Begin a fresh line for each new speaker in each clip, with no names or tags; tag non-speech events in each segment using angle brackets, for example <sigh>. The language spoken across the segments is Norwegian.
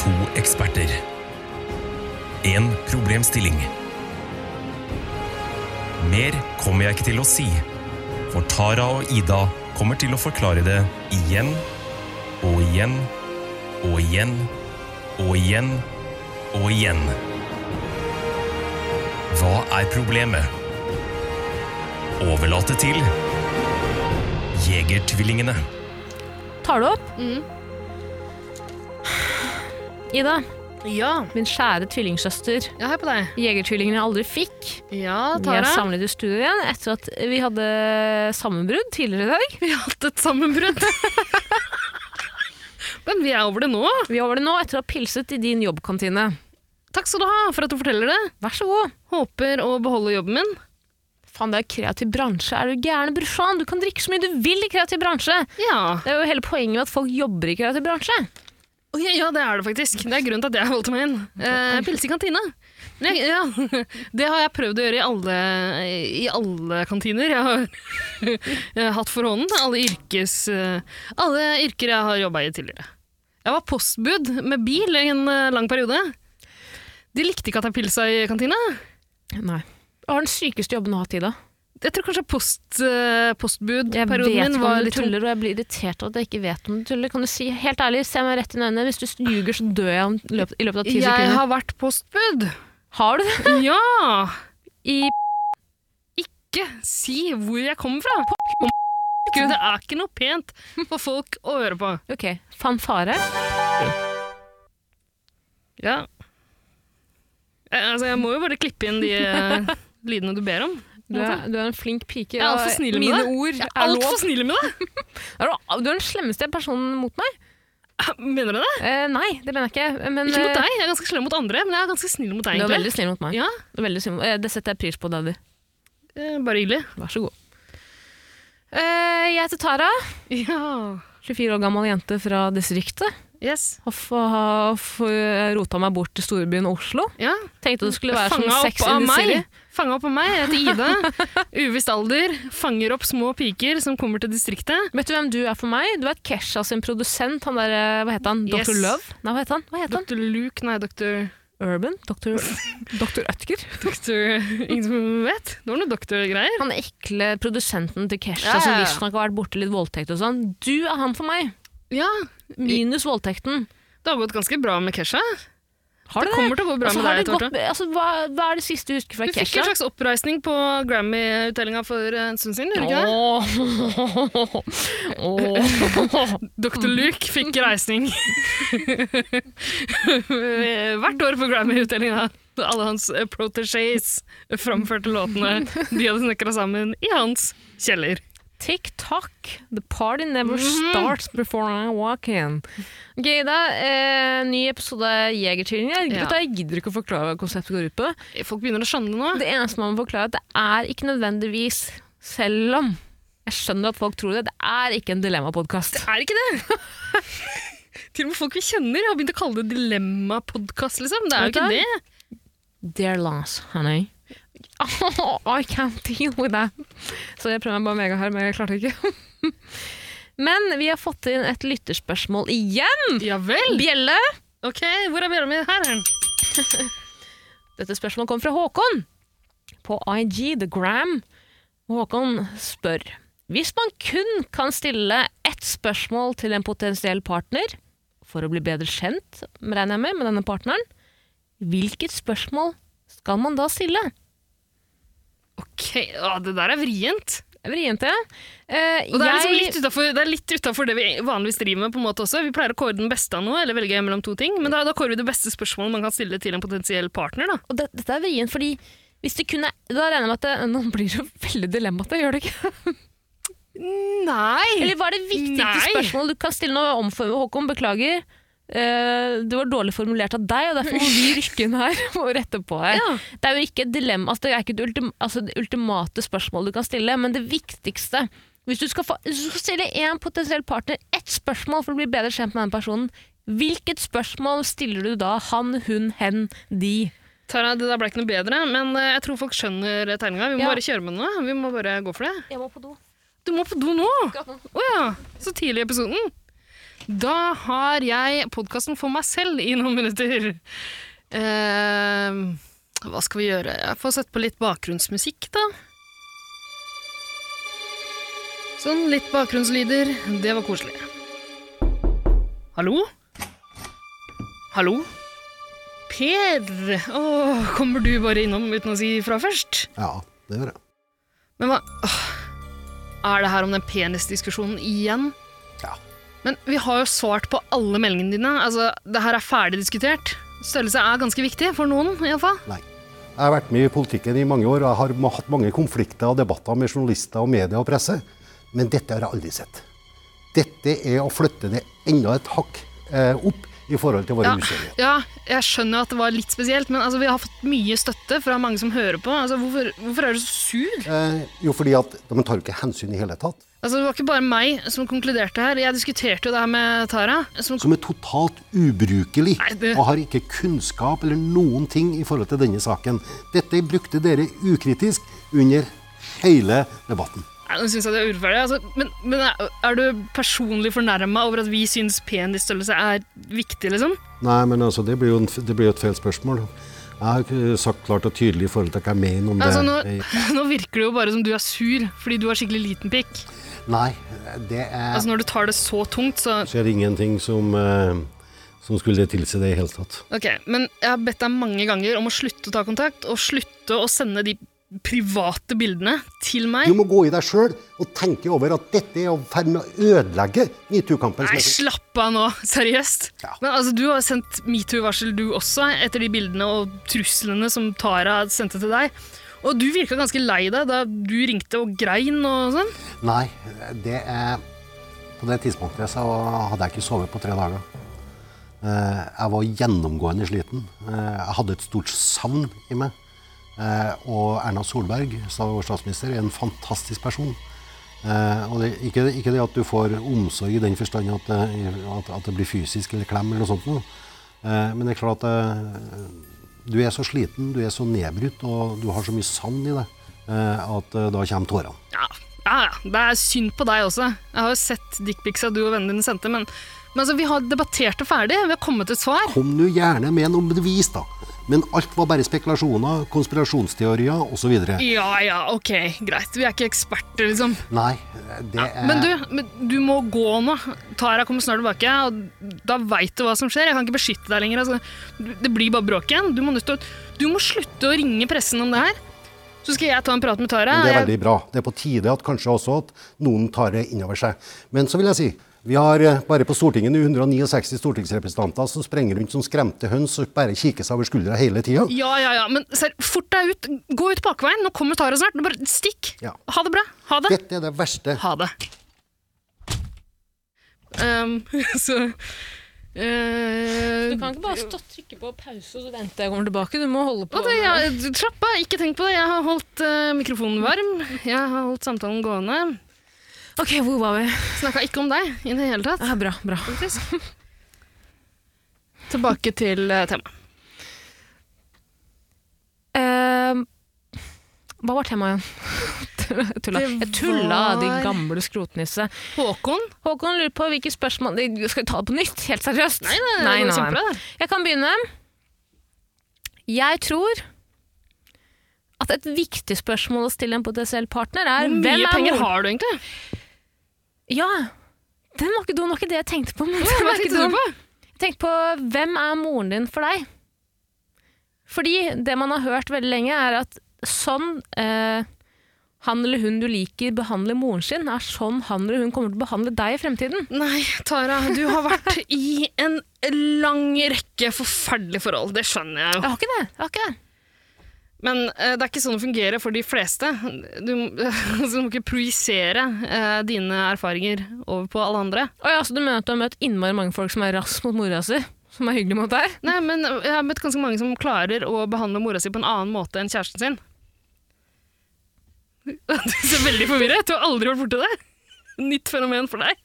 To eksperter. En problemstilling. Mer kommer jeg ikke til å si, for Tara og Ida kommer til å forklare det igjen og igjen og igjen og igjen og igjen. Hva er problemet? Overlate til Jegertvillingene.
Tar du opp? <sighs> Ida,
Ja.
min kjære tvillingsøster.
ja, hei på deg.
Jegertvillingene jeg aldri fikk.
Ja,
Vi er
Tara.
samlet i studio igjen etter at vi hadde sammenbrudd tidligere i dag.
<laughs> Vi har hatt et <laughs> sammenbrudd. Men vi er over det nå.
Vi over det nå etter å ha pilset i din jobbkantine.
Takk skal du ha for at du forteller det.
Vær så god.
Håper å beholde jobben min.
Faen, det er jo kreativ bransje. Er du gæren, brorsan? Du kan drikke så mye du vil i kreativ bransje.
Ja.
Det er jo hele poenget med at folk jobber i kreativ bransje.
Å, ja, ja, det er det faktisk. Det er grunnen til at jeg valgte meg inn. Eh, Pils i kantina. Men Jeg, ja, <laughs> det har jeg prøvd å gjøre i alle, i alle kantiner jeg har, <laughs> jeg har hatt for hånden. Alle, yrkes, eh, alle yrker jeg har jobba i tidligere. Jeg var postbud med bil i en eh, lang periode. De likte ikke at jeg pilsa i kantina.
Nei. Du har den sykeste jobben du har hatt, Ida.
Jeg tror kanskje post, eh,
Jeg vet
postbudperioden
ikke
min
om
var
du
litt tung.
tuller, og jeg blir irritert av at jeg ikke vet om du tuller. Kan du si helt ærlig, se meg rett i øynene. Hvis du ljuger, så dør jeg om, løp, i løpet av ti
Jeg
sekunder. Har...
har vært postbud.
<laughs> du det?
Ja!
I
ikke si hvor jeg kommer fra. Gud, det er ikke noe pent for folk å høre på.
Ok, fanfare.
Ja. Eh, Altså, jeg må jo bare klippe inn de eh, lydene du ber om.
Du er, du er en flink pike.
Jeg er altfor
og
snill med
Mine
deg.
ord
Jeg
er,
er altfor
lov.
snill med deg!
Er du, du er den slemmeste personen mot meg.
Ah, Mener du det?
Eh, nei, det mener jeg ikke. Men,
Ikke mot
eh,
deg. Jeg er ganske slem mot andre, men jeg er ganske snill mot deg.
Du er
egentlig.
veldig snill mot meg.
Ja,
Du er veldig snill. Eh, Det setter jeg pris på, daddy.
eh, Bare hyggelig.
Vær så god. Eh, jeg heter Tara.
Ja.
24 år gammel jente fra distriktet.
Yes.
Har f- har f- rota meg bort til storbyen Oslo.
Ja.
Tenkte det skulle være som
Fanga
sex
opp av
in the city.
meg. Fanga opp av meg.
<laughs>
Jeg heter Ida. Uvisst alder. Fanger opp små piker som kommer til distriktet.
Vet du hvem du er for meg? Du er Kesha sin produsent. Han der, eh, hva heter han?
Yes.
Dr. Love? Nei, hva heter han? Hva heter han?
Dr. Luke, nei, dr.
Urban? Dr. <laughs> Dr. Ødger?
Doktor <laughs> Ingen som vet? Det var noe doktorgreier.
Han ekle produsenten til Kesha
Ja, ja,
som
ja.
visstnok har vært borti litt voldtekt og sånn. Du er han for meg.
Ja,
Minus voldtekten.
det har gått ganske bra med Kesha.
Har
Det
det
kommer til å gå bra
Altså,
med
har
deg.
det
etter hvert,
gått- altså, hva, hva er det siste du husker fra
da. Du fikk
Kesha?
en slags oppreisning på Grammy-uttellinga for en stund siden, gjorde du ikke det?
Åh. <laughs> Åh.
Dr. Luke fikk reisning <laughs> hvert år på Grammy-uttellinga. Alle hans eh, protégés framførte låtene de hadde snekra sammen i hans kjeller.
TikTok. The party never
Mhm.
starts before I walk in. Ok, Ida. Eh, ny episode av Jegertvillingene.
Ja.
Gutta, Jeg gidder ikke å forklare hva konseptet går ut på.
Folk begynner å skjønne det nå.
Det eneste man må forklare, er at det er ikke nødvendigvis, selv om jeg skjønner at folk tror det, det er ikke en dilemmapodkast.
er ikke <laughs> det. Til og med folk vi kjenner har begynt å kalle det dilemmapodkast, liksom. Det er jo
Vet du
ikke
hva?
det.
Dear Lance, honey. <laughs> I can't deal with that. Så jeg prøver meg bare mega her, men jeg klarte ikke. <laughs> Men vi har fått inn et lytterspørsmål igjen.
Ja vel.
Bjelle!
Ok, hvor er bjella mi? Her er den.
Dette spørsmålet kom fra Håkon på IG The Gram. Og Håkon spør Hvis man kun kan stille ett spørsmål til en potensiell partner, for å bli bedre kjent, regner jeg med, med denne partneren, hvilket spørsmål skal man da stille?
Ok, å, det der er vrient.
Det er Vrient, det. Eh,
Og det er, liksom
jeg-
litt utenfor, det er litt utafor det vi vanligvis driver med. på en måte også. Vi pleier å kåre den beste av noe, eller velge mellom to ting. Men da, da kårer vi det beste spørsmålet man kan stille til en potensiell partner. da.
og det, dette er vrient, fordi hvis det kunne Da regner jeg med at det, Nå blir det jo veldig dilemmate, gjør det ikke?
Nei!
Eller hva er det viktigste
Nei.
spørsmålet du kan stille nå? Omform, Håkon, beklager. Eh, det var dårlig formulert av deg, og derfor må vi rykke inn her <laughs> og rette på her.
Ja.
Det er jo ikke et dilemma, altså, det er ikke det, ultim, altså, det ultimate spørsmålet du kan stille, men det viktigste Hvis du skal, få, hvis du skal stille en potensiell partner ett spørsmål for å bli bedre kjent med den personen, hvilket spørsmål stiller du da han, hun, hen, de?
Tara, Det der ble ikke noe bedre, men eh, jeg tror folk skjønner tegninga. Vi må
Ja.
bare kjøre med den nå. Vi må bare gå for det.
Jeg må på do.
Du må på do nå! Å ja! Så tidlig i episoden. Da har jeg podkasten for meg selv i noen minutter. Eh, hva skal vi gjøre? Jeg får sette på litt bakgrunnsmusikk, da. Sånn, litt bakgrunnslyder. Det var koselig. Hallo? Hallo? Per! Å, kommer du bare innom uten å si fra først?
Ja, det gjør jeg.
Men hva Åh, Er det her om den penisdiskusjonen igjen?
Ja.
Men vi har jo svart på alle meldingene dine. Altså, det her er ferdig diskutert. Størrelse er ganske viktig for noen, iallfall.
Nei. Jeg har vært med i politikken i mange år, og jeg har ma- hatt mange konflikter og debatter med journalister og media og presse, men dette har jeg aldri sett. Dette er å flytte det enda et hakk eh, opp i forhold til våre
Ja,
museer.
ja, jeg skjønner jo at det var litt spesielt, men altså, vi har fått mye støtte fra mange som hører på. Altså, hvorfor, hvorfor er du så sur?
Eh, jo, fordi at de tar jo ikke hensyn i hele tatt.
Altså, det var ikke bare meg som konkluderte her. Jeg diskuterte jo det her med Tara. Som
Som er totalt ubrukelig,
Nei, det-
og har ikke kunnskap eller noen ting i forhold til denne saken. Dette brukte dere ukritisk under hele debatten.
Nei, Nå syns jeg det er urettferdig. Altså, men men er, er du personlig fornærma over at vi syns penisstørrelse er viktig, liksom?
Nei, men altså, det blir jo, en, det blir jo et feil spørsmål. Jeg har ikke sagt klart og tydelig i forhold til hva jeg mener om
Altså, nå,
det.
<laughs> nå virker det jo bare som du er sur fordi du har skikkelig liten pikk.
Nei, det er
Altså, når du tar det så tungt, så
skjer ingenting som, eh, som skulle tilsi det i hele tatt.
Ok, men jeg har bedt deg mange ganger om å slutte å ta kontakt, og slutte å sende de private bildene til meg.
Du må gå i deg sjøl og tenke over at dette er i ferd med å ødelegge metoo-kampen. som
Nei,
er så-
slapp av nå, seriøst.
Ja.
Men altså, Du har sendt metoo-varsel du også, etter de bildene og truslene som Tara sendte til deg. Og du virka ganske lei deg da du ringte og grein og sånn.
Nei, det er På det tidspunktet så hadde jeg ikke sovet på tre dager. Eh, Jeg var gjennomgående sliten. Eh, Jeg hadde et stort savn i meg. Eh, Og Erna Solberg, sta- vår statsminister, er en fantastisk person. Eh, Og det, ikke, ikke det at du får omsorg i den forstand at, det- at, at det blir fysisk eller klem eller noe sånt noe. Eh, Men det er klart at eh, du er så sliten, du er så nedbrutt, og du har så mye savn i deg eh, at eh, da kommer tårene.
Ja, ja, ja. Det er synd på deg også. Jeg har jo sett dickpicsa du og vennene dine sendte, men, men altså, vi har debattert det ferdig. Vi har kommet til et svar.
Kom nå gjerne med noe bevis, da. Men alt var bare spekulasjoner, konspirasjonsteorier osv.
Ja ja, ok, greit. Vi er ikke eksperter, liksom.
Nei, det er
Men du, men du må gå nå. Tara kommer snart tilbake, og da veit du hva som skjer. Jeg kan ikke beskytte deg lenger. Altså. Du- Det blir bare bråk igjen. Du må, nødt til å, du må slutte å ringe pressen om det her. Så skal jeg ta en prat med Tara.
Men det er
Jeg-
veldig bra. Det er på tide at kanskje også at noen tar det innover seg. Men så vil jeg si, vi har eh, bare på Stortinget nå 169 stortingsrepresentanter som sprenger rundt som skremte høns og bare kikker seg over skuldra hele tida.
Ja, ja, ja. Men ser, fort deg ut. Gå ut bakveien. Nå kommer Tara snart. Nå Bare stikk.
Ja.
Ha det bra. Ha det.
Dette er det verste.
Ha det. Ehm, <laughs> så eh,
Du kan ikke bare stå, trykke på pause og så vente til jeg kommer tilbake. Du må holde på.
Og det, jeg, slapp av, ikke tenk på det. Jeg har holdt eh, mikrofonen varm. Jeg har holdt samtalen gående.
Ok, hvor var vi?
Snakka ikke om deg i det hele tatt.
Ja, bra, bra.
faktisk. <laughs> Tilbake til eh, temaet.
Eh, hva var temaet igjen? <laughs> Tulla.
Det
Jeg tulla, de
var-
gamle skrotnisse.
Håkon?
Håkon lurer på hvilke spørsmål de- Skal vi ta det på nytt? Helt seriøst?
Nei, nei, det går kjempebra, det.
Jeg kan begynne. Jeg tror at et viktig spørsmål å stille en potensiell partner er
Hvor
hvem
mye
er
penger
mor-
har du egentlig?
Ja, den var ikke dum, det var ikke det jeg tenkte på. Men den
Hva
var ikke
tenkte
dum.
du på?
Tenk på hvem er moren din for deg? Fordi det man har hørt veldig lenge, er at sånn eh, han eller hun du liker, behandler moren sin, er sånn han eller hun kommer til å behandle deg i fremtiden.
Nei, Tara, du har vært i en lang rekke forferdelige forhold. Det skjønner jeg jo.
Jeg har ikke det. Jeg har ikke det.
Men eh, det er ikke sånn det fungerer for de fleste. Du, <laughs> altså, du må ikke projisere eh, dine erfaringer over på alle andre.
Å ja, så du mener at du har møtt innmari mange folk som er rask mot mora si? Som er hyggelig mot deg?
Nei, men jeg har møtt ganske mange som klarer å behandle mora si på en annen måte enn kjæresten sin. <laughs> Du ser veldig forvirret. Du har aldri vært borti det. Nytt fenomen for deg.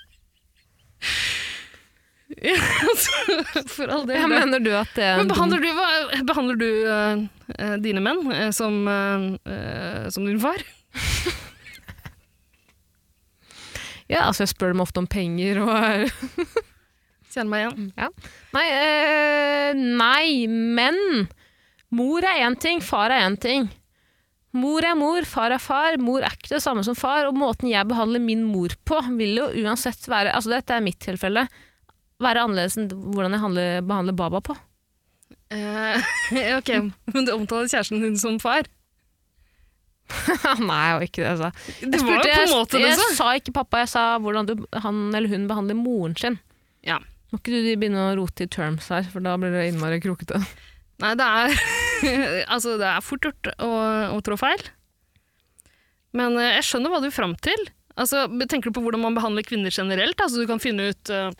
<laughs> Ja, altså, for all del.
Jeg mener du at det er en
Men
dum
behandler du, hva- behandler du eh, eh, dine menn eh, som, eh, eh, som din far?
Ja, altså jeg spør dem ofte om penger og
Kjenner meg igjen.
ja. Nei, eh, nei, men mor er én ting, far er én ting. Mor er mor, far er far. Mor er ikke det samme som far. Og måten jeg behandler min mor på, vil jo uansett være Altså dette er mitt tilfelle. Være annerledes enn hvordan jeg handler, behandler baba på.
Eh, <laughs> ok, men du omtaler kjæresten din som far?
<laughs> nei, jeg var ikke det, altså.
Det var jo på en måte
jeg,
det,
jeg
så.
sa ikke pappa, jeg sa hvordan du, han eller hun behandler moren sin.
Ja.
Må ikke du begynne å rote i terms her, for da blir det innmari krokete.
Nei, det er, <laughs> altså, det er fort gjort å, å trå feil. Men eh, jeg skjønner hva du er fram til. Altså, tenker du på hvordan man behandler kvinner generelt? Altså, du kan finne ut, eh,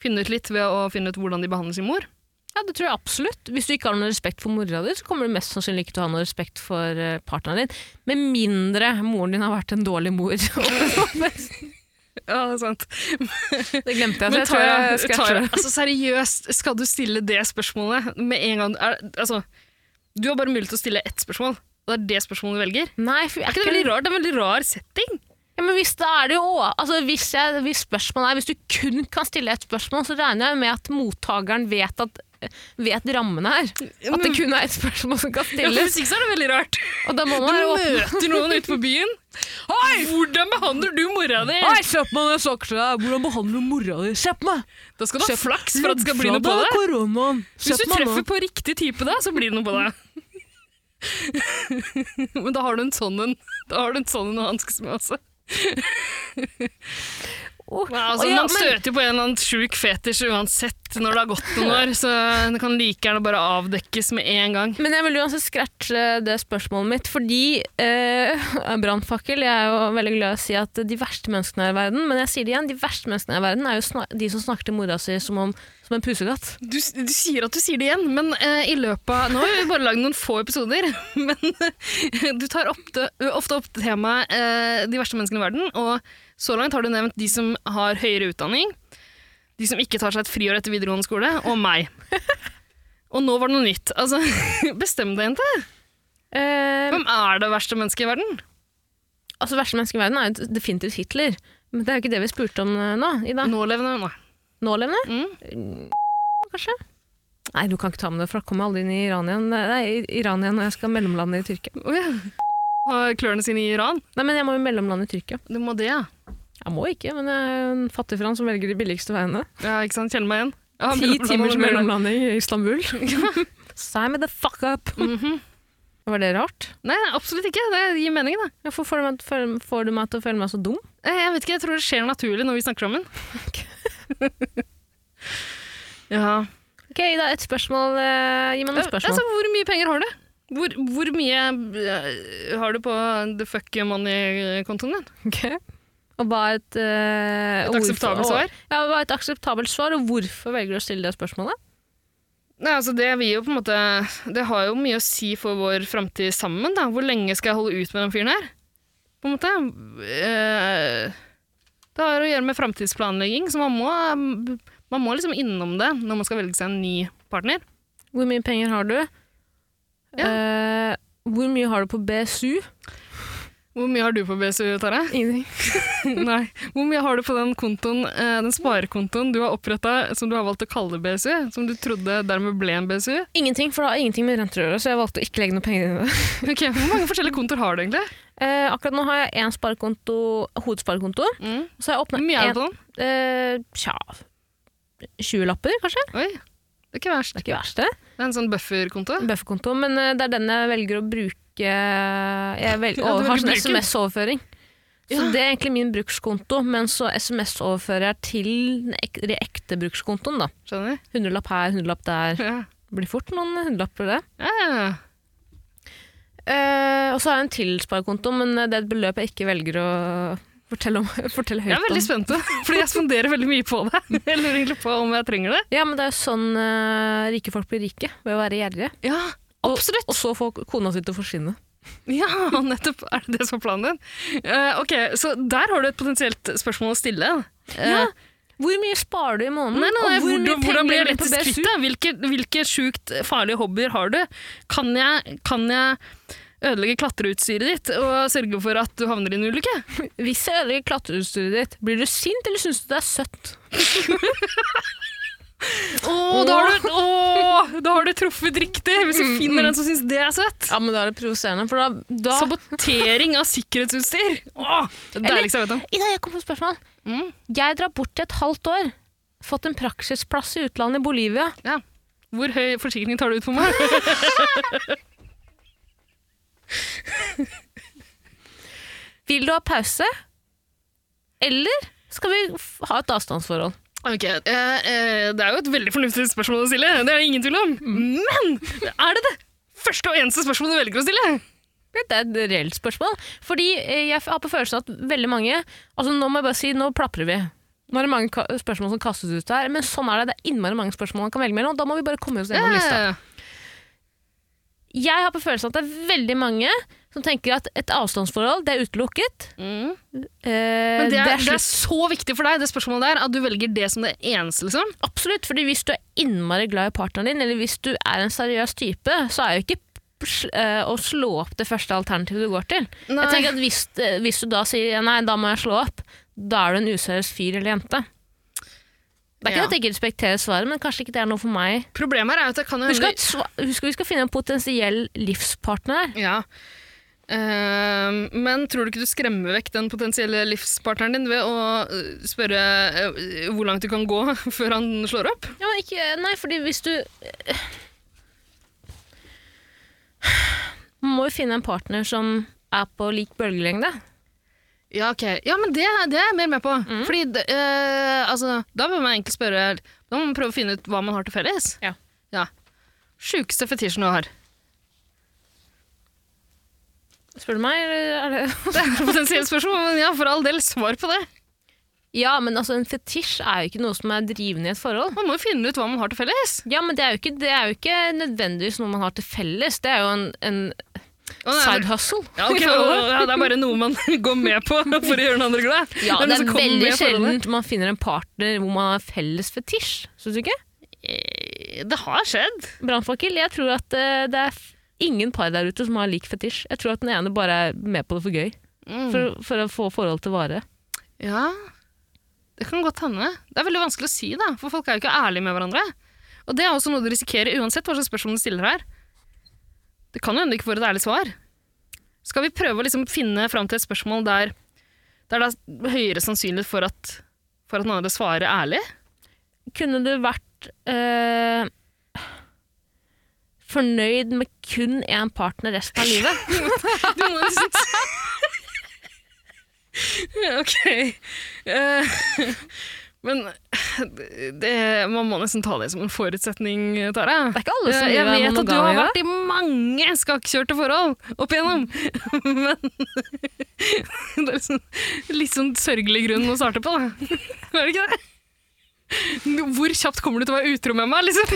finne ut litt ved å finne ut hvordan de behandler sin mor.
Ja, det tror jeg absolutt. Hvis du ikke har noen respekt for mora di, så kommer du mest sannsynlig ikke til å ha noen respekt for eh, partneren din. Med mindre moren din har vært en dårlig mor. <laughs> det
<laughs> Ja, det er <laughs> sant.
glemte jeg, så
Men
jeg tror
Tara,
jeg
Tara,
scratcher det.
altså seriøst, skal du stille det spørsmålet med en gang? Er, altså, du har bare mulighet til å stille ett spørsmål, og det er det spørsmålet du velger.
Nei, for
Er ikke det veldig rart? Det er en veldig rar setting.
Ja, men hvis, da er det jo, å- altså, hvis, jeg, hvis spørsmålet er Hvis du kun kan stille ett spørsmål, så regner jeg med at mottakeren vet, at, vet rammene her. At det kun er ett spørsmål som kan
Ja, men
stilles.
hvis ikke så er det veldig rart.
Og da må
Du
man være åpen.
møter noen ute på byen. Hvordan behandler du mora di?
se på meg, jeg snakker til deg. Hvordan behandler mora di? Se på meg!
Da skal du ha flaks for at det skal bli noe på deg.
Koronaen.
Hvis du treffer på riktig type da, så blir det noe på <laughs> deg. Men da har du en sånn en. Da har du en sånn en å hanskes med også. Men altså,
ja,
man
men,
støter jo på en eller annen sjuk fetisj uansett når det har gått noen år, så det kan like gjerne bare avdekkes med en gang.
men jeg vil uansett scratche eh, det spørsmålet mitt, fordi eh, <laughs> brannfakkel Jeg er jo veldig glad i å si at de verste menneskene her i verden, men jeg sier det igjen, de verste menneskene her i verden er jo sna de som snakker til mora si som, om, som en pusekatt.
Du, du sier at du sier det igjen, men eh, i løpet av Nå har vi bare lagd noen få episoder, <laughs> men eh, du tar ofte, ofte opp temaet eh, de verste menneskene i verden, og så langt har du nevnt de som har høyere utdanning, de som ikke tar seg et friår etter videregående skole, og meg. <laughs> Og nå var det noe nytt. Altså, <laughs> bestem deg, jente.
Eh,
Hvem er det verste mennesket i verden?
altså, verste menneske i verden er jo definitivt Hitler, men det er jo ikke det vi spurte om eh, nå. Ida.
Nålevende nå.
Nålevende,
Mm.
kanskje? Nei, du kan ikke ta med det, for da kommer jeg aldri inn i Iran igjen. Nei, Iran igjen når jeg skal mellomlande i Tyrkia.
Å ja. Har klørne sine i Iran?
Nei, men jeg må jo mellomlande i Tyrkia.
Du må det, ja.
Jeg må ikke, men jeg er jo en fattig fran som velger de billigste veiene.
ja ikke sant? Kjenner meg igjen. Ja,
Ti
mellomland-
timers mellomlanding i Istanbul. <laughs> Sign me the fuck up!
Mhm.
Var det rart?
Nei, nei, absolutt ikke. Det gir mening, da.
Hvorfor får du, meg, føl- får du meg til å føle meg så dum?
Eh, Jeg vet ikke, jeg tror det skjer naturlig når vi snakker <laughs> sammen. ja.
Ok, Ida, et spørsmål. eh, gi meg noen spørsmål.
Altså, hvor mye penger har du? Hvor, hvor mye eh, har du på the fuck money-kontoen din?
Ok. Og hva er et, eh,
Et
hvorfor-
akseptabelt svar?
Ja, hva er et akseptabelt svar, og hvorfor velger du å stille det spørsmålet?
Nei, altså det, vil jo på en måte, det har jo mye å si for vår framtid sammen. Da. Hvor lenge skal jeg holde ut med den fyren her? På en måte. Eh, Det har å gjøre med framtidsplanlegging, så man må, man må liksom innom det når man skal velge seg en ny partner.
Hvor mye penger har du? Eh, hvor mye har du på BSU?
Hvor mye har du på BSU, Tara?
Ingenting.
<laughs> Nei. Hvor mye har du på den, kontoen, eh, den sparekontoen du har oppretta som du har valgt å kalle BSU, som du trodde dermed ble en BSU?
Ingenting, for det har ingenting med renter å gjøre, så jeg valgte å ikke legge noe penger inn i det.
Ok, Hvor mange forskjellige kontoer har du egentlig?
Eh, akkurat nå har jeg én sparekonto, hovedsparekonto.
Mm.
Så har jeg åpna
Hvor mye er det på den?
Eh, tja 20 lapper, kanskje?
Oi, det er ikke verst.
Det er ikke verst, det.
Det er en sånn bufferkonto.
Bufferkonto. Men eh, det er den jeg velger å bruke
<laughs>
Jeg vel,
Ja, du
og, har sånn
velger bruken.
SMS-overføring. Så
Ja.
det er egentlig min brukskonto, men så SMS-overfører jeg til den ek den ekte brukskontoen, da.
Skjønner?
Hundrelapp her, hundrelapp
<laughs>
der.
Ja.
Det blir fort noen hundrelapper, det.
Ja, ja, ja.
Eh, og så har jeg en til sparekonto, men eh, det er et beløp jeg ikke velger å fortelle, om, <laughs> fortelle høyt
Jeg er
om.
veldig spent, fordi jeg spanderer veldig mye på det. <laughs> Jeg lurer egentlig på om jeg trenger det.
Ja, men det er jo sånn eh, rike folk blir rike, ved å være gjerrige.
Ja, absolutt.
Og så får kona si til å forsvinne.
Ja, nettopp. Er det det som er planen din? Eh, ok, så der har du et potensielt spørsmål å stille. Eh,
Ja, Hvor mye sparer du i måneden?
Nei, nei, nei,
og hvor mye
hvordan, hvordan blir
penger blir
jeg
på
lettest kvitt
BSU?
det? Hvilke, hvilke sjukt farlige hobbyer har du? Kan jeg, kan jeg ødelegge klatreutstyret ditt og sørge for at du havner i en ulykke.
Hvis jeg ødelegger klatreutstyret ditt, blir du sint eller syns du det er søtt?
Å, da, har du, å, da har du truffet riktig! Hvis du finner den som syns det er søtt.
Ja, men da er det provoserende, for da, da
Sabotering av sikkerhetsutstyr! Å, det
Eller-
deiligste jeg vet om.
Ida, jeg kom på et spørsmål.
Mm.
Jeg drar bort til et halvt år. Fått en praksisplass i utlandet i Bolivia.
Ja. Hvor høy forsikring tar du ut for meg?
Vil du ha pause? Eller skal vi f- ha et avstandsforhold?
Ok, eh, eh, Det er jo et veldig fornuftig spørsmål å stille, det er det ingen tvil om. Men er det det første og eneste spørsmålet du velger å stille?
Det er et reelt spørsmål. Fordi eh, jeg har på følelsen at veldig mange Altså Nå må jeg bare si, nå plaprer vi. Nå er det mange ka- spørsmål som kastes ut her, men sånn er det. Det er innmari mange spørsmål man kan velge mellom. Da må vi bare komme oss gjennom lista.
Eh,
Jeg har på følelsen at det er veldig mange som tenker at et avstandsforhold, det er utelukket.
Mm.
Eh,
Men det er, det er
slutt.
så viktig for deg, det spørsmålet der, at du velger det som det eneste, liksom.
Absolutt, fordi hvis du er innmari glad i partneren din, eller hvis du er en seriøs type, så er jo ikke p- sl- eh, å slå opp det første alternativet du går til.
Nei.
Jeg tenker at hvis, eh, hvis du da sier ja, nei, da må jeg slå opp, da er du en useriøs fyr eller jente. Det er ikke
Ja.
at jeg ikke respekterer svaret, men kanskje ikke det er noe for meg.
Problemet her er jo at det kan jo
Husk at sva- husk at vi skal finne en potensiell livspartner.
Ja. Ehm, men tror du ikke du skremmer vekk den potensielle livspartneren din ved å øh, spørre øh, hvor langt du kan gå <laughs> før han slår opp?
Ja, men ikke, nei, fordi hvis du Man må jo finne en partner som er på lik bølgelengde.
Ja, ok. Ja, men det, det er jeg mer med på. Fordi, det, eh, altså, da bør man egentlig spørre Da må man prøve å finne ut hva man har til felles.
Ja.
ja. Sjukeste fetisjen du har. <laughs>
Spør du meg, eller er det <laughs>
Det er et potensielt spørsmål, men ja, for all del, svar på det.
Ja, men altså, en fetisj er jo ikke noe som er drivende i et forhold.
Man må jo finne ut hva man har til felles.
Ja, men det er jo ikke, det er jo ikke nødvendigvis noe man har til felles. Det er jo en, en
Og det er-
side hustle.
ja, ok,
i forholdet.
ja, det er bare noe man <laughs> går med på for å gjøre den andre glad.
<laughs> Ja,
noe
det
som
er
kommer med
veldig
i forholdet.
sjelden man finner en partner hvor man har felles fetisj. Syns du ikke?
Eh, Det har skjedd.
Brannfakkel, jeg tror at eh, det er f- ingen par der ute som har lik fetisj. Jeg tror at den ene bare er med på det for gøy. For, for å få forholdet til vare.
Ja, det kan godt hende. Det er veldig vanskelig å si, da, for folk er jo ikke ærlige med hverandre. Og det er også noe du risikerer uansett hva slags spørsmål du stiller her. Det kan jo hende du ikke får et ærlig svar. Skal vi prøve å liksom finne fram til et spørsmål der, der det er høyere sannsynlighet for at, for at den andre svarer ærlig?
Kunne du vært eh, fornøyd med kun én partner resten av livet?
Du må jo synes... Ja, <laughs> ok. Eh, men det, man må nesten ta det som en forutsetning, Tara.
Det er ikke alle som
jeg
lever
vet at du
monogame,
har
Ida.
vært i mange skakkjørte forhold opp igjennom, <laughs> men det er liksom, litt sånn sørgelig grunn å starte på, da. <laughs> Er det ikke det? Hvor kjapt kommer du til å være utro med meg? Liksom?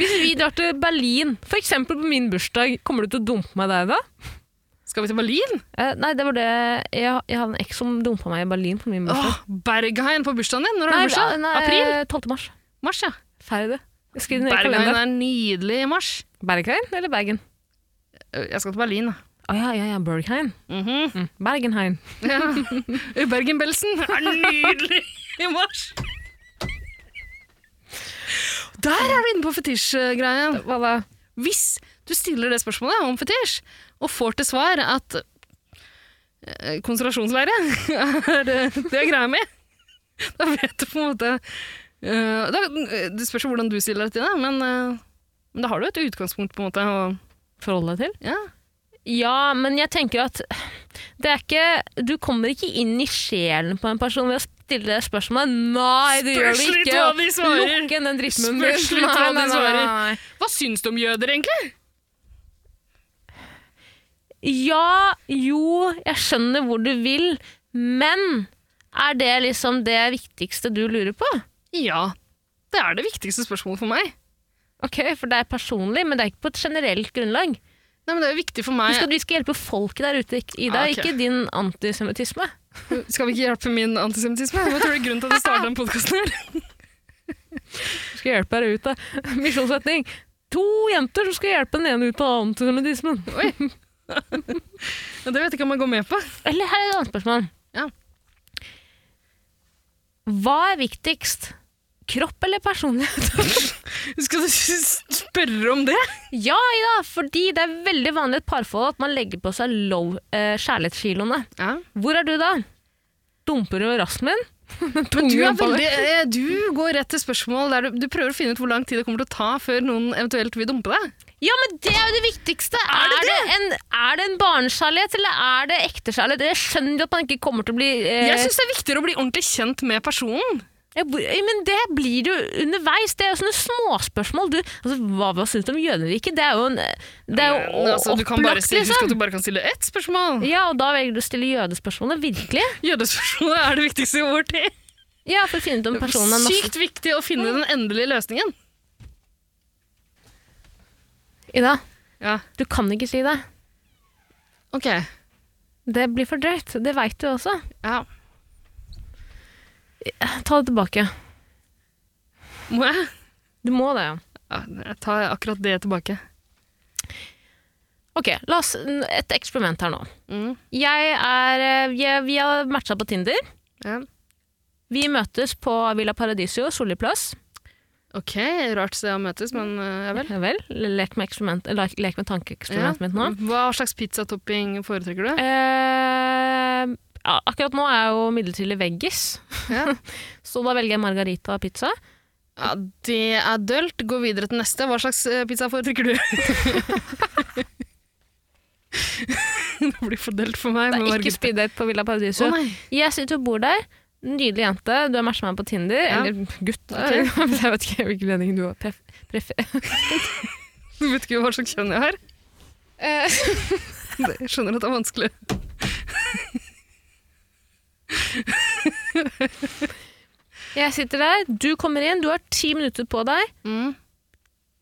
Hvis vi drar til Berlin, for eksempel på min bursdag, kommer du til å dumpe meg der da?
Skal vi til Berlin?
Eh, nei, det var det Jeg, jeg hadde en eks som dumpa meg i Berlin på min bursdag.
Åh, Berghain på bursdagen din? Når har
nei,
du bursdag?
nei,
April?
eh, 12. mars.
Mars, ja.
Ferdig det. Jeg skriver det ned i
Berghain
kalenderen.
er nydelig i mars. Øh,
Berghain eller Bergen?
Jeg skal til Berlin, da.
Å ja, ja, ja, Berghain.
Mhm.
Mm. Bergenhain.
<laughs> ja. Bergen-Belsen er nydelig i mars! Der er vi inne på fetisjgreien.
Hva da?
Hvis du stiller det spørsmålet om fetisj, og får til svar at eh, konsentrasjonsleire <laughs> er eh, det jeg greier med, da vet du på en måte eh, da, Det spørs jo hvordan du stiller deg til det, men, eh, men da har du et utgangspunkt, på en måte. Og,
Forholde deg til?
ja.
Ja, men jeg tenker at det er ikke Du kommer ikke inn i sjelen på en person ved å stille det spørsmålet. Nei, det gjør du
Spørs litt
ikke!
hva de svarer.
Lukk igjen den drittmunnen din.
Spørs litt hva
<laughs> Nei,
de
nei, nei,
svarer.
nei.
Hva syns du om jøder, egentlig?
Ja, jo, jeg skjønner hvor du vil, men er det liksom det viktigste du lurer på?
Ja, det er det viktigste spørsmålet for meg.
Ok, For det er personlig, men det er ikke på et generelt grunnlag.
Nei, men det er jo viktig for meg.
Husk at vi skal hjelpe folket der ute, ikke- Ida,
Ah, ok.
ikke din antisemittisme.
Skal vi ikke hjelpe min antisemittisme? Hva tror du er grunnen til at vi startet den podkasten her?
Vi skal hjelpe her <laughs> ute. Misjonssetning. To jenter som skal hjelpe den ene ut av antisemittismen.
Oi, <laughs> Ja, det vet jeg ikke om jeg går med på.
Eller her er et annet spørsmål.
Ja.
Hva er viktigst? Kropp eller personlighet? <laughs>
Skal du s- spørre om det?
ja, Ida, fordi det er veldig vanlig i et parforhold at man legger på seg low, eh, kjærlighetskiloene.
Ja.
Hvor er du da? Dumper du rassen min?
Men du, er
Tunge på det.
veldig, eh, du går rett til spørsmål der du, du prøver å finne ut hvor lang tid det kommer til å ta før noen eventuelt vil dumpe deg.
Ja, men det er jo det viktigste! Er det, en, er det en barnekjærlighet, eller er det ekte kjærlighet? Jeg skjønner jo at man ikke kommer til å bli eh,
Jeg syns det er viktigere å bli ordentlig kjent med personen.
jeg, bor- ja, Men det blir du underveis. Det er jo sånne småspørsmål. Du, altså, hva hva syns du om Jønevike? Det er jo, en, det er jo
Men, altså, du kan bare
opplagt,
si, husk at
liksom.
du bare kan stille ett spørsmål.
Ja, og da velger du å stille jødespørsmålet, virkelig?
Jødespørsmålet er det viktigste i vår tid.
Ja, for å finne ut om personen er norsk.
Sykt viktig å finne den endelige løsningen.
Ida,
Ja,
du kan ikke si det.
ok.
Det blir for drøyt. Det veit du også.
Ja.
Ta det tilbake.
Må jeg?
Du må det, ja.
Ja, jeg tar akkurat det tilbake.
Ok, la oss et eksperiment her nå.
Mm.
Jeg er eh, jeg, Vi har matcha på Tinder.
Ja.
Vi møtes på Villa Paradisio, Solli plass.
Ok, rart sted å møtes, men eh, ja vel.
Ja vel. Lek med, eksperiment- eh, lek- lek med tankeeksperimentet mitt nå.
Hva slags pizzatopping foretrekker du?
Eh, ja, akkurat nå er jeg jo midlertidig veggis,
Ja.
<laughs> så da velger jeg margarita pizza.
Ja, det er dølt. Gå videre til neste. Hva slags eh, pizza foretrekker du? <laughs> det blir for dølt for
Det
meg.
er
med
ikke
margarita.
speeddate på Villa
Å
Paradiso.
nei.
jeg sitter og bor der. Nydelig jente. Du har matcha meg på Tinder.
Ja.
Eller gutt.
Ja,
<laughs> Jeg vet ikke hvilken mening du har. Pref pref
Du vet ikke hva slags kjønn jeg har?
Eh.
<laughs> Jeg skjønner at det er vanskelig.
jeg sitter der, du kommer inn, du har ti minutter på deg.
Mm.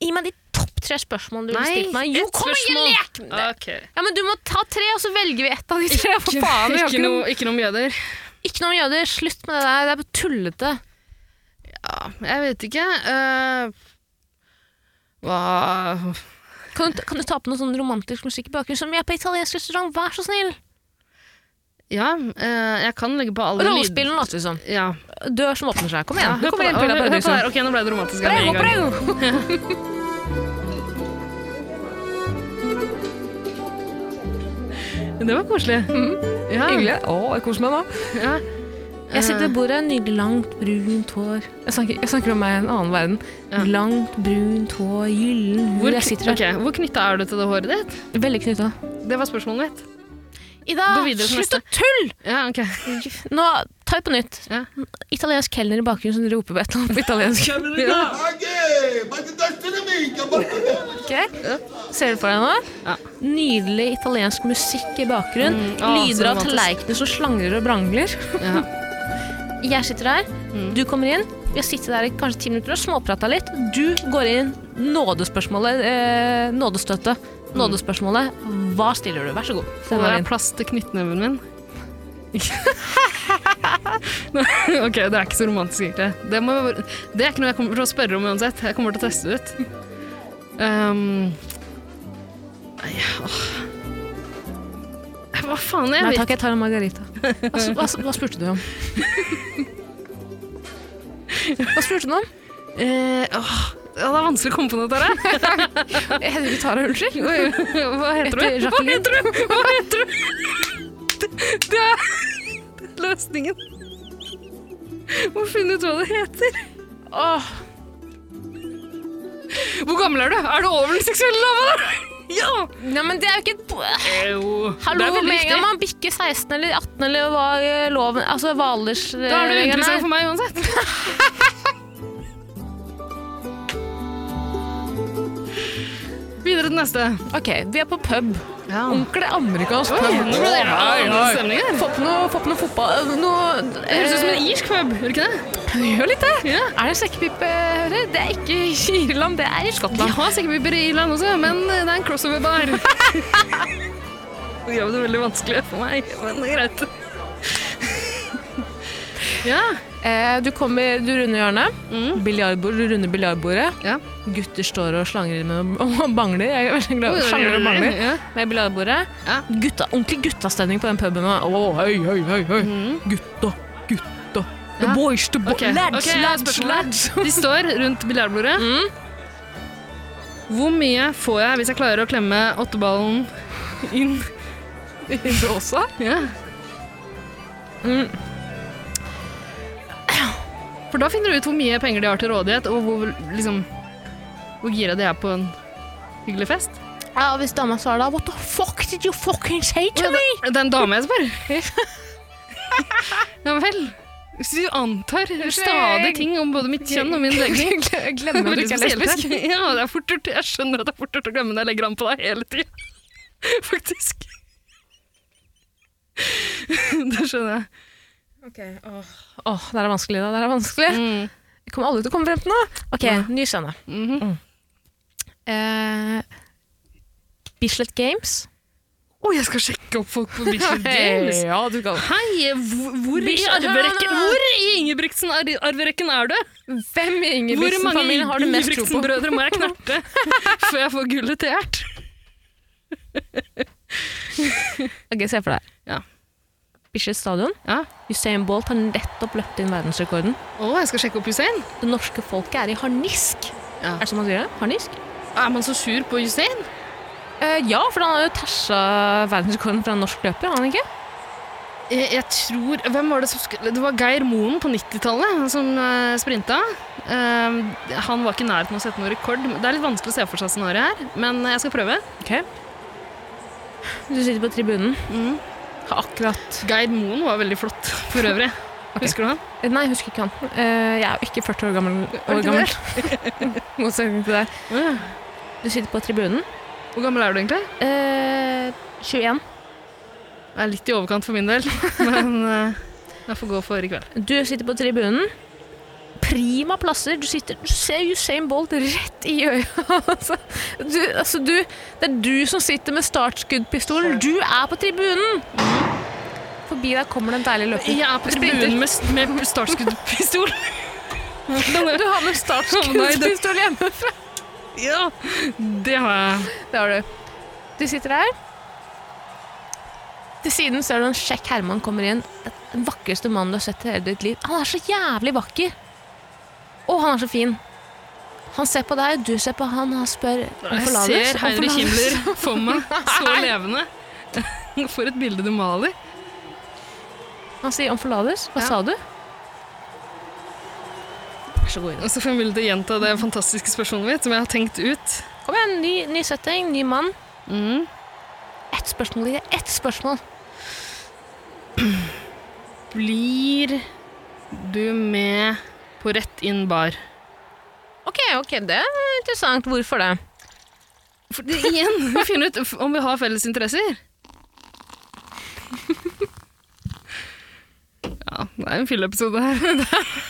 Gi meg de topp tre spørsmålene du vil stille meg. Jo,
ett
kom igjen,
spørsmål.
lek! med det!
Ok.
Ja, men Du må ta tre, og så velger vi ett av de tre. For faen, vi har
ikke, noe, ikke noe om jøder.
Ikke noe om jøder. Slutt med det der. Det er bare tullete.
Ja, jeg vet ikke. Eh, hva
Kan du, kan du ta på noe sånn romantisk musikk i bakgrunnen? Som 'Jeg er på italiensk restaurant, vær så snill'.
Ja, eh, jeg kan legge på alle
Rollespillen later vi som.
lyd- Ja.
Dør som åpner seg. Kom igjen.
Hør
liksom. Kom
på det.
igjen, Pilla
Hør på det
Paradiso.
her. Ok, nå ble det romantisk. her med
Prego,
en gang.
prego!
Det var koselig. Mhm. Ja.
Å, jeg koser meg nå.
Ja.
Jeg sitter ved bordet, nydelig langt, brunt hår. Jeg snakker, jeg snakker om meg i en annen verden.
Ja.
Langt, brunt hår, gyllen hud.
Hvor,
jeg sitter her.
ok, hvor knytta er du til det håret ditt?
Veldig knytta.
Det var spørsmålet mitt.
Ida,
Gå videre til
slutt å tulle!
Ja, ok.
Nå, ta det på nytt.
Ja.
Italiensk kelner i bakgrunnen som roper på et eller annet på italiensk. <laughs>
Ja.
Aqui, vai tentar ser amiga, vai
Ok. Ser du for deg nå?
Ja.
Nydelig italiensk musikk i bakgrunnen.
Mm, å, så
Lyder av
romantisk.
tallerkener som slangler og brangler.
Ja.
<laughs>
Mm.
Jeg sitter her, du kommer inn. Vi har sittet der i kanskje ti minutter og småprata litt. Du går inn. Nådespørsmålet. Eh, nådestøtet. Nådespørsmålet. Hva stiller du? Vær så god.
Mm. Det
Den er
er
din.
plass til knyttneven min. <laughs> ok, det er ikke så romantisk egentlig. Det, må, det er ikke noe jeg kommer til å spørre om uansett. Jeg kommer til å teste det ut. Um, nei, åh. Hva faen, jeg
Nei
vet
takk, jeg tar en
<laughs>
margarita. Hva, s- hva, s- hva spurte du om? Hva spurte du om?
Eh, åh, ja, det er vanskelig å komme på noe, Tara.
Jeg heter ikke Tara Ulsik.
<laughs> Hva heter
Etter
du? Hva
Jacqueline.
heter du? Hva heter du? <laughs> Det, det er løsningen. Må finne ut hva det heter.
Åh,
Hvor gammel er du? Er du over den seksuelle lava? <laughs> Ja!
Nei, men det er jo ikke et po-
Jo.
Hallo, med en gang man bikker 16 eller 18 eller hva eh, loven Altså hva alders...
Da er du
eh, er.
interessant for meg uansett. <laughs> Videre til neste.
Ok, vi er på pub.
Ja.
Onkel er amerikansk
Oi,
pub.
nå ble det
Oi, oi.
stemning her.
Få på noe, få på noe fotball eh, noe,
Det høres ut som en irsk pub, gjør det ikke det?
eh, Gjør litt det.
Ja.
Er det sekkepipe, hører? Det er ikke i Irland, det er i
De
Skottland.
har sekkepiper i Irland også, men det er en crossover-bar. <laughs> Det gjør det veldig vanskelig for meg, men det er greit. Ja,
Eh, du kommer, du runder hjørnet.
Mm.
Biljardbord, du runder biljardbordet.
Ja.
Gutter står og slanger inn med og bangler. Jeg er veldig glad i slanger og bangler
Ja.
med biljardbordet.
Ja.
Gutta, ordentlig guttastemning på den puben. Å, hei, hei, hei, hei. Gutta, gutta. The
Ja.
boys, the boys.
Ok,
Lads,
ok,
lads,
spørsmålet.
lads.
De står rundt biljardbordet. Hvor mye får jeg hvis jeg klarer å klemme åtteballen inn?
Bråsa?
Ja. Mm. For da finner du ut hvor mye penger de har til rådighet, og hvor, liksom, hvor gira de er på en hyggelig fest.
Ja, hvis dama svarer da, what the fuck did you fucking say to
Oi,
me?
det, det er en dame jeg spør. <laughs> ja vel. Hvis du antar stadig ting om både mitt kjønn og min legning
Jeg glemmer at du ikke er
Veldig
lesbisk.
spesielt. <laughs> Ja, det er fort gjort. Jeg skjønner at det er fort gjort å glemme når jeg legger an på deg hele tida. <laughs> Faktisk. <laughs> Det skjønner jeg.
Åh, det er vanskelig da, det er vanskelig.
Mm.
Vi kommer alle til å komme frem til noe. Ok, ny scene. Mm. Eh, Bislett Games.
Å, jeg skal sjekke opp folk
<laughs>
på Bislett Games.
Hei, ja, du skal.
Hei, hvor, hvor, i
Bislett-
arverekken,
Nei, nei, nei.
hvor i Ingebrigtsen-arverekken er du?
Hvem i
Hvor mange
Ingebrigtsen-familien har du mest tro på?
Ingebrigtsen-brødre må jeg knerte
<laughs>
før jeg får gullet til Gjert?
Ok, se for deg.
Ja.
Bislett Stadion.
Ja.
Usain Bolt har nettopp løpt inn verdensrekorden.
Å, jeg skal sjekke opp Hussein.
Det norske folket er i harnisk.
Ja.
Er det sånn man sier det? Harnisk?
Er man så sur på Hussein?
Eh, ja, for han har jo tersa verdensrekorden fra en norsk løper, har han ikke?
Jeg, jeg tror Hvem var det som skulle Det var Geir Moen på 90-tallet han som eh, sprinta. Eh, han var ikke i nærheten av å sette noen rekord. Det er litt vanskelig å se for seg scenarioet her, men jeg skal prøve.
Ok. Du sitter på tribunen. Har akkurat
Geir Moen var veldig flott for <laughs> øvrig. Husker du han?
Eh, Nei, jeg husker ikke han. Eh, jeg er jo ikke 40 år gammel. År
ikke
gammel. Motsetning til deg. Du sitter på tribunen.
Hvor gammel er du egentlig?
Eh, 21.
Jeg er litt i overkant for min del, <laughs> men eh, jeg får gå for i kveld.
Du sitter på tribunen. Prima plasser. Du, sitter, du ser Usain Bolt rett i øya. <laughs> altså, du, altså, du, det er du som sitter med startskuddpistolen. Du er på tribunen! Mm. Forbi deg kommer det en deilig løper.
Jeg er på tribunen med, med startskuddpistol.
Du har <laughs> med startskuddpistol hjemme.
<laughs> ja, det har jeg.
Det har du. Du sitter der. Til siden ser du en kjekk Herman kommer inn. Den vakreste mannen du har sett i hele ditt liv. Han er så jævlig vakker! Og han er så fin. Han ser på deg, du ser på han, og han spør om
Jeg
forlatelse.
ser
om
Heinrich
forlatelse.
Himmler for meg
<laughs>
så levende. <laughs> For et bilde du maler.
Han sier 'om forlatelse'. Hva
Ja.
sa du? Vær så god, Ida.
Og så får jeg mulighet til å gjenta det fantastiske spørsmålet mitt, som jeg har tenkt ut.
Kom igjen, ny, ny setting, ny mann. Mm. Ett spørsmål, Ida. Ett spørsmål.
Blir du med på rett inn bar?
Ok, ok, det er interessant. Hvorfor det?
For det, igjen, vi finner ut f- om vi har felles interesser. Ja, det er en fylleepisode her. <laughs>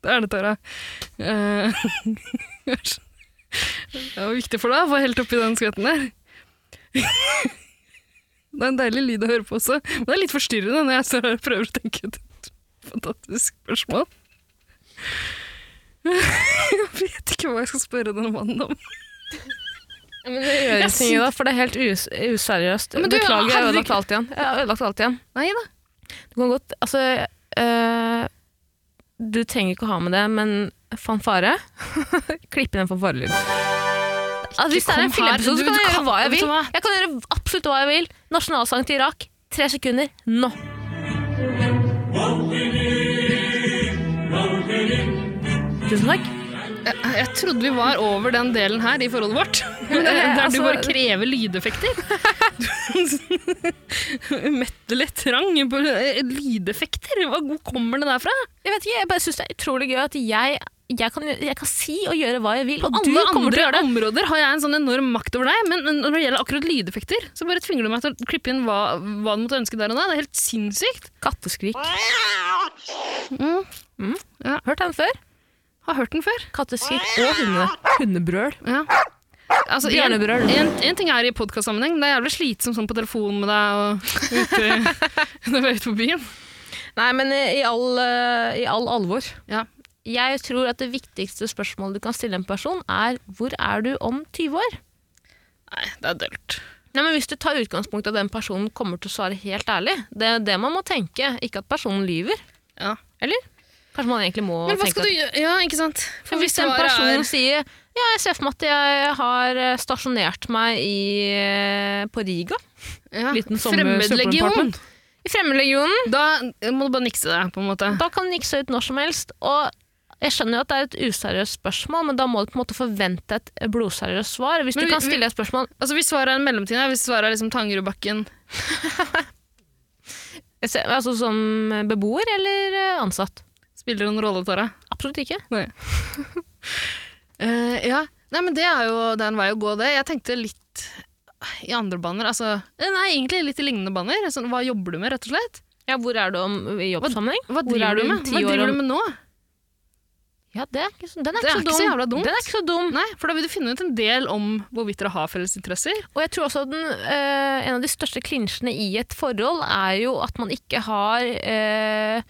Det er- Det er det, Tara. Eh, <laughs> Det var viktig for deg å få helt oppi den skvetten der. Det er en deilig lyd å høre på også. Men det er litt forstyrrende når jeg står her og prøver å tenke ut et fantastisk spørsmål. <laughs> Jeg vet ikke hva jeg skal spørre denne mannen om.
Men det gjør ingenting, da, for det er helt us useriøst.
Men du,
Beklager, jeg har
herregud.
ødelagt alt igjen. Jeg har ødelagt alt igjen.
Nei da.
Du kan godt Altså øh, Du trenger ikke å ha med det, men fanfare <laughs> Klipp inn en fanfarelyd. Altså, hvis det er en
kom her.
filmepisode,
Du-
så kan
du
jeg gjøre
kan-
hva jeg
vet du
vil.
hva?
Jeg kan gjøre absolutt hva jeg vil. Nasjonalsang til Irak. Tre sekunder nå. Tusen takk.
Jeg, jeg trodde vi var over den delen her i forholdet vårt. Der
altså-
du bare krever lydeffekter. Du- Mettelig trang på eh, lydeffekter. Hva hvor kommer det derfra?
Jeg vet ikke, jeg bare syns det er utrolig gøy at jeg, jeg, kan, jeg kan si og gjøre hva jeg vil, og du kommer til
Alle
å
andre
gjøre det.
områder har jeg en sånn enorm makt over deg, men når det gjelder akkurat lydeffekter, så bare tvinger du meg til å klippe inn hva, hva du måtte ønske der og da. Det er helt sinnssykt.
Katteskrik. Mm.
Ja.
Hørt den før?
Har hørt den før.
Katteskrik og hunde. hundebrøl.
Ja. Altså, en,
Bjørnebrøl.
en, en ting er i
<laughs>
<laughs> podkastsammenheng. Det er jævlig slitsomt sånn på telefonen med deg og ute når vi er ute på byen.
Nei, men eh, i all, eh, i all alvor.
Ja.
Jeg tror at det viktigste spørsmålet du kan stille en person, er hvor er du om 20 år?
Nei, det er dølt.
Nei, men Hvis du tar utgangspunkt i at den personen kommer til å svare helt ærlig, det er det man må tenke, ikke at personen lyver.
Ja.
Eller? Kanskje man egentlig må
Men hva
tenke
skal du gjøre? Ja, ikke sant?
at
For
hvis
hvis
den
svaret
personen
er
sier ja, jeg ser for meg at jeg har eh, stasjonert meg i, eh, på Riga,
ja,
liten sommer-
fremmedlegion,
superapartment. i fremmedlegionen,
da må du bare nikse det, på en måte.
Da kan den ikke se ut når som helst. Og jeg skjønner jo at det er et useriøst spørsmål, men da må du på en måte forvente et blodseriøst svar. Hvis du
Men vi-
kan stille et spørsmål
Altså Hvis svaret er en mellomting her, hvis svaret er liksom Tangerudbakken
jeg ser- altså som beboer eller eh, ansatt.
Spiller det noen rolle, Tara?
Absolutt ikke.
Nei. Eh, ja. Nei, men det er jo det er en vei å gå, det. Jeg tenkte litt i andre baner. Altså, eh, nei, egentlig litt i lignende baner. Sånn, hva jobber du med, rett og slett?
Ja, hvor er du om, i jobbsammenheng? Hvor
Hva
er
driver
du
du
om
med?
ti
Hva
år
driver
om-
du med nå?
Ja, det er ikke så, den er
Det
ikke,
er ikke så jævla dumt.
Den er ikke så dum.
Nei, for da vil du finne ut en del om hvorvidt dere har felles interesser.
Og jeg tror også at den, eh, en av de største klinsjene i et forhold er jo at man ikke har eh,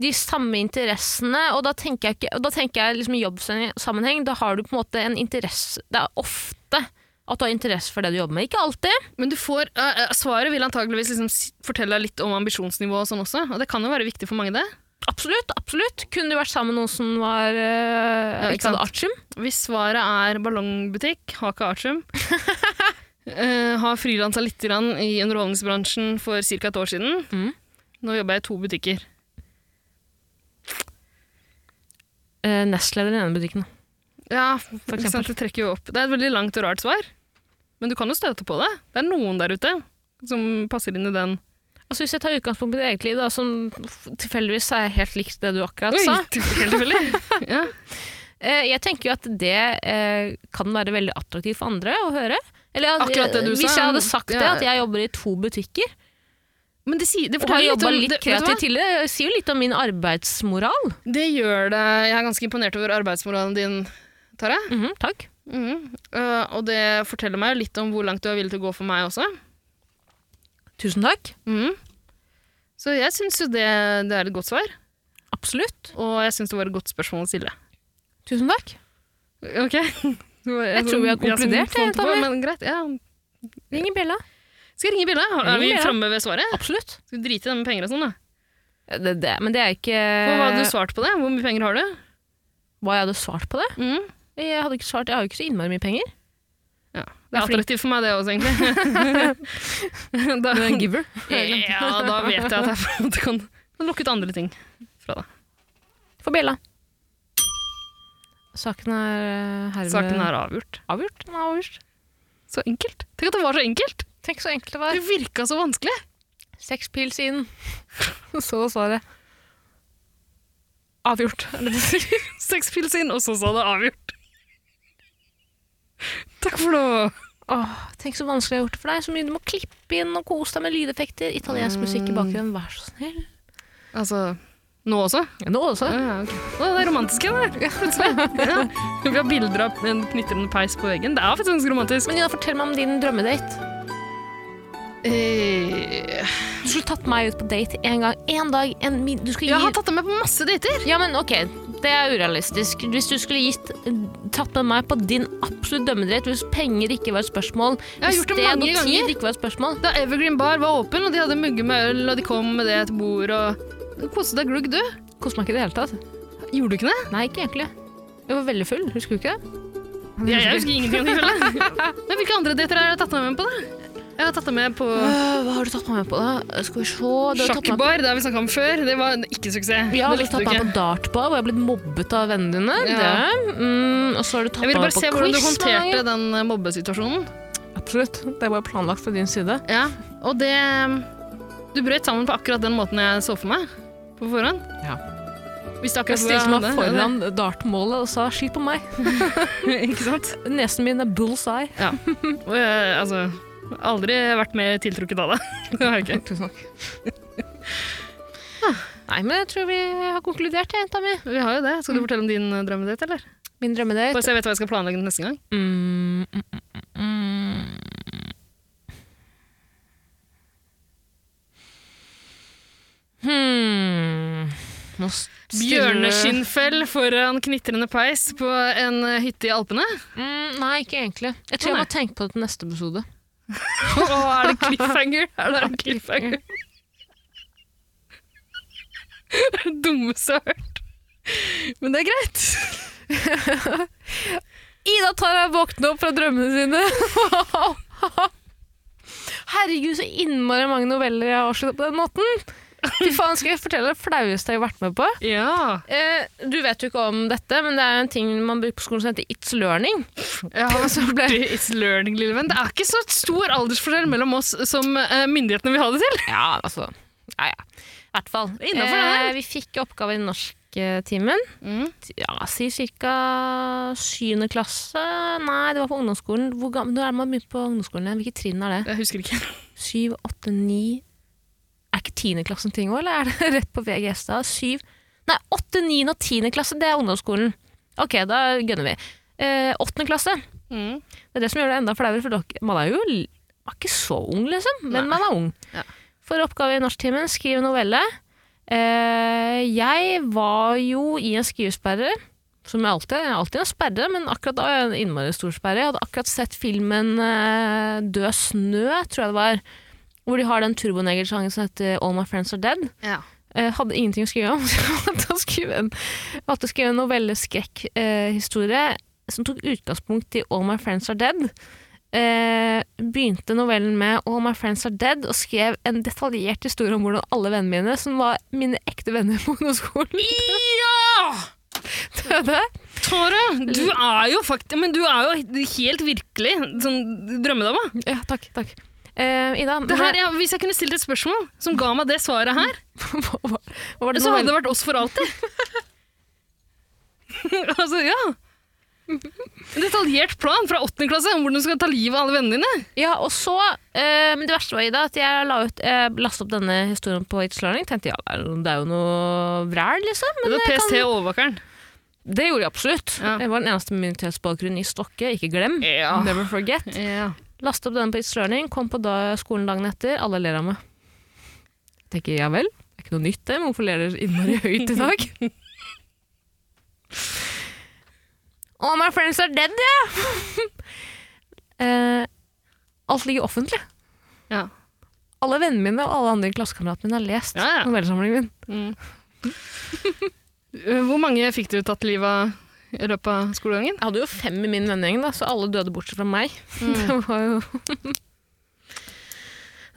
de samme interessene, og da tenker jeg, ikke, og da tenker jeg liksom i jobbsammenheng, da har du på en måte en interesse, det er ofte at du har interesse for det du jobber med. Ikke alltid.
Men du får, eh, eh, svaret vil antageligvis liksom si- fortelle deg litt om ambisjonsnivået og sånn også. Og det kan jo være viktig for mange, det.
Absolutt, absolutt. Kunne du vært sammen med noen som var eh,
Ja, ikke
ikke
sant.
hadde artium?
Hvis svaret er ballongbutikk, har ikke artium. eh, har frilansa litt grann i underholdningsbransjen for ca. et år siden.
Mhm.
Nå jobber jeg i to butikker.
Eh, nestleder i den ene butikken. da.
Ja, for
eksempel.
eksempel. Det trekker jo opp. Det er et veldig langt og rart svar. Men du kan jo støte på det. Det er noen der ute som passer inn i den.
Altså Hvis jeg tar utgangspunkt i ditt eget liv, da, som f- tilfeldigvis er helt likt det du akkurat
Oi,
sa,
helt tilfeldig. ja.
Eh, Jeg tenker jo at det eh, kan være veldig attraktivt for andre å høre. Eller, at-
Akkurat det du
hvis
sa,
jeg hadde sagt det,
ja.
at jeg jobber i to butikker,
Men det, sier, det
og har
forteller litt
jobba
om
litt
det, vet du hva?
kreativt tidligere, det sier jo litt om min arbeidsmoral.
Det gjør det. Jeg er ganske imponert over arbeidsmoralen din, Tara.
Mhm, takk.
Mhm. Eh, og det forteller meg jo litt om hvor langt du er villig til å gå for meg også.
Tusen takk.
Mhm. Så jeg syns jo det, det er et godt svar,
Absolutt.
og jeg syns det var et godt spørsmål å stille.
Tusen takk.
Ok? <laughs>
Jeg tror vi har konkludert, jeg, Tammy.
Men greit, ja.
Ring i bjella.
Skal jeg ringe Bille? Har- Er
Ring
vi
Bille.
framme ved svaret?
Absolutt.
Skal vi drite i det med penger og sånn, da?
Det, det, men det er ikke
For hva hadde du svart på det? Hvor mye penger har du?
hva jeg hadde svart på det.
Mhm.
Jeg hadde ikke svart, jeg har jo ikke så innmari mye penger.
Ja. Det er
flink.
attraktivt for meg, det også, <laughs> egentlig. da,
giver.
<laughs> ja, da vet jeg at jeg på en måte kan kan lukke ut andre ting fra deg.
For bjella. Saken er eh, herved
Saken er avgjort.
avgjort. Den er avgjort.
Så enkelt. Tenk at det var så enkelt!
Tenk så enkelt det var.
Det virka så vanskelig.
Seks pils inn. <laughs> Så var svaret. Avgjort. er det det du sier?
Seks pils inn, og så sa det avgjort. Takk for nå.
Åh, tenk så vanskelig jeg har gjort det for deg. Så mye du må klippe inn og kose deg med lydeffekter. Italiensk musikk i bakgrunnen, vær så snill.
Altså, nå også?
Ja, nå også.
Ja, ja, ok. Å, det er romantisk igjen, det. Plutselig. Ja. Vi har bilder av en knitrende peis på veggen. Det er faktisk ganske romantisk.
Men Ina, fortell meg om din drømmedate.
Eh,
Du skulle tatt meg ut på date en gang. En dag, en min... Du skulle
jeg har
gi...
tatt deg med på masse dater.
Ja, men ok, det er urealistisk. Hvis du skulle gitt, tatt med meg på din absolutt drømmedate, hvis penger ikke var et spørsmål,
Jeg har
hvis
gjort det
sted og
mange ganger.
tid ikke var et spørsmål,
Da Evergreen Bar var åpen, og de hadde mugger med øl, og de kom med det til bord, og Du koste deg glugg, du.
koste meg ikke i det hele tatt.
Gjorde du ikke det?
Nei, ikke egentlig. Jeg var veldig full, husker du ikke det?
Jeg, jeg husker ingenting av det. føler jeg. Men hvilke andre dater har jeg tatt deg med på, da? Jeg har tatt deg med på
Øh, hva har du tatt meg med på da? Skal vi se du har tatt meg...
Sjakkbar, det har vi snakka om før. Det var ikke suksess.
Ja,
det
du har tatt meg på dartbar, hvor jeg har blitt mobbet av vennene dine.
Ja.
Det. Mm, og så har du tatt meg
Jeg ville
på
bare
quiz.
se hvordan du
mange
håndterte den eh, mobbesituasjonen.
ganger. Absolutt, det var planlagt fra din side.
Ja, og det
mm,
Du brøt sammen på akkurat den måten jeg så for meg på forhånd.
Ja.
Visste
Jeg
akkurat hvor
stilte meg
hadde-
foran dartmålet og sa, skyt på meg.
<laughs> Ikke sant?
Nesen min er bullseye.
Og jeg, altså Aldri vært mer tiltrukket av det. <laughs> Det har jeg ikke.
Tusen takk. Nei, men jeg tror vi har konkludert, jeg, jenta mi.
Vi har jo det. Skal du fortelle om din eh, drømmedate, eller?
Min
Bare
drømmedate
så jeg vet hva jeg skal planlegge neste gang.
mm, mm, mm, mm. Hmm. Nå stiller-
Bjørneskinnfell foran knitrende peis på en eh, hytte i Alpene.
Mm, nei, ikke egentlig. Jeg tror
Å,
jeg
nei.
må tenke på det til neste episode.
Og er det cliffhanger? Er det en cliffhanger? <laughs> Det er det dummeste jeg har hørt. Men det er greit.
<laughs> Ida Tara våkne opp fra drømmene sine. <laughs> Herregud, så innmari mange noveller jeg har avslutta på den måten. Fy faen, skal jeg fortelle det flaueste jeg har vært med på?
Ja.
Eh, du vet jo ikke om dette, men det er jo en ting man bruker på skolen som heter It's Learning.
ja så ble... It's learning, lille venn. Det er ikke så stor aldersforskjell mellom oss som eh, myndighetene vil ha det til.
Ja, altså. Ja, ja. I hvert fall.
Innenfor det her.
Eh, vi fikk oppgave i norsktimen. Ja, si ca. 7. klasse. Nei, det var på ungdomsskolen. Hvor gammel, når er det man begynte på ungdomsskolen? igjen? Hvilket trinn er det?
Jeg husker ikke.
Syv, åtte, ni Er ikke tiendeklassen ting òg, eller er det <laughs> rett på VGS da? Syv Nei, åtte, niende og tiende klasse, det er ungdomsskolen. Ok, da gønner vi. Eh, Åttende klasse. Det er det som gjør det enda flauere, for dere, man er jo l- man er ikke så ung, liksom. Men man er ung.
Ja.
For oppgave i norsktimen, skrive novelle. Eh, jeg var jo i en skrivesperre, som jeg alltid er. Alltid en sperre, men akkurat da var jeg en innmari stor sperre. Jeg hadde akkurat sett filmen eh, Død snø, tror jeg det var. Hvor de har den turbonegersangen som heter All My Friends Are Dead.
Ja.
Eh, hadde ingenting å skrive om, <laughs> så jeg valgte å skrive en, valgte å skrive en novelleskrekkhistorie som tok utgangspunkt i All My Friends Are Dead. Eh, begynte novellen med All My Friends Are Dead og skrev en detaljert historie om hvordan alle vennene mine, som var mine ekte venner på ungdomsskolen, <laughs>
ja!
døde.
Tara, du er jo faktisk Men du er jo helt virkelig sånn drømmedama.
Ja, takk, takk. Eh, Ida,
Det her, ja, hvis jeg kunne stilt et spørsmål som ga meg det svaret her,
<laughs> hva, hva, hva var det
så
novellen-
hadde det vært oss for alltid. <laughs> altså, ja. En detaljert plan fra 8. klasse om hvordan du skal ta livet av alle vennene dine.
Ja, og så eh, Men det verste var, Ida, at jeg la ut, eh, lastet opp denne historien på It's Learning. Tenkte ja, det er jo- det er jo noe vræl, liksom. Men
det er
jeg
PST og overvåkeren.
Kan, det gjorde jeg absolutt.
Ja.
Jeg var den eneste med minoritetsbakgrunn i Stokke. Ikke glem.
Ja.
Never forget.
Ja.
Lastet opp denne på It's Learning, kom på da, skolen dagen etter. Alle ler av meg. Tenker ja vel, det er ikke noe nytt det, men hvorfor ler dere innmari høyt i <laughs> dag? All my friends are dead, ja! <laughs> eh, alt ligger offentlig.
Ja.
alle vennene mine og alle andre klassekameratene mine har lest
Ja, ja.
novellesamlingen min.
Mm. Hvor mange fikk du tatt livet av i løpet av skolegangen?
Jeg hadde jo fem i min vennegjeng, da, så alle døde bortsett fra meg. Mm. <laughs> Det var jo...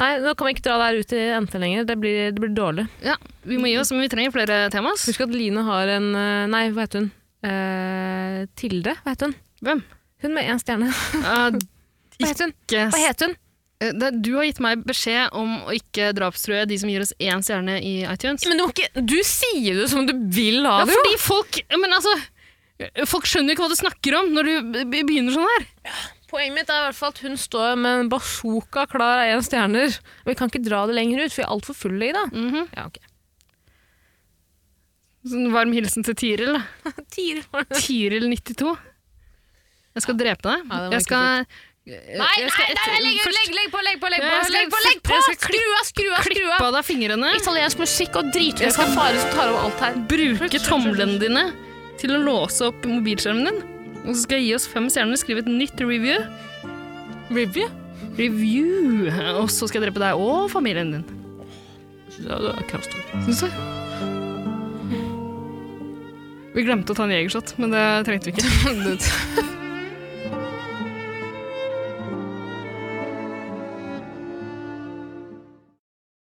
Nei, nå kan vi ikke dra der ut i NT lenger. Det blir, det blir dårlig.
Ja, Vi må gi oss, men vi trenger flere temas.
Husk at Line har en eh, Nei, hva heter hun? Eh, Tilde, hva heter hun?
Hvem?
Hun med én stjerne. <laughs>
Eh,
Hva heter hun?
ikke
Hva heter hun?
Eh, det, du har gitt meg beskjed om å ikke drapstrue de som gir oss én stjerne i iTunes.
Men du, må ikke, du sier det som du vil ha
ja,
det, jo!
fordi folk Men altså, folk skjønner ikke hva du snakker om når du be- begynner sånn her.
Poenget mitt er i hvert fall at hun står med en bazooka klar av én stjerner. Vi kan ikke dra det lenger ut, for vi er altfor fulle i det. Ja, ok.
Sånn varm hilsen til Tiril. da.
<laughs> <laughs> Tier.
Tiril92. Jeg skal drepe deg.
Ja, det var
jeg
ikke
skal
Nei,
jeg
nei,
skal
nei,
etter-
nei legg, ut, legg, legg på, legg på, legg på!
Jeg skal
Legg på, legg på!
jeg skal
Skru av, skru av, skru
klippe
av!
av deg fingrene.
Italiensk musikk og drithøy
Jeg skal-
fanfare som tar over alt her.
Bruke tomlene dine til å låse opp mobilskjermen din. Og så skal jeg gi oss fem stjerner, skrive et nytt review.
Review?
Review! Og så skal jeg drepe deg og familien din. Syns du? Vi glemte å ta en jegershot, men det trengte vi ikke. <laughs>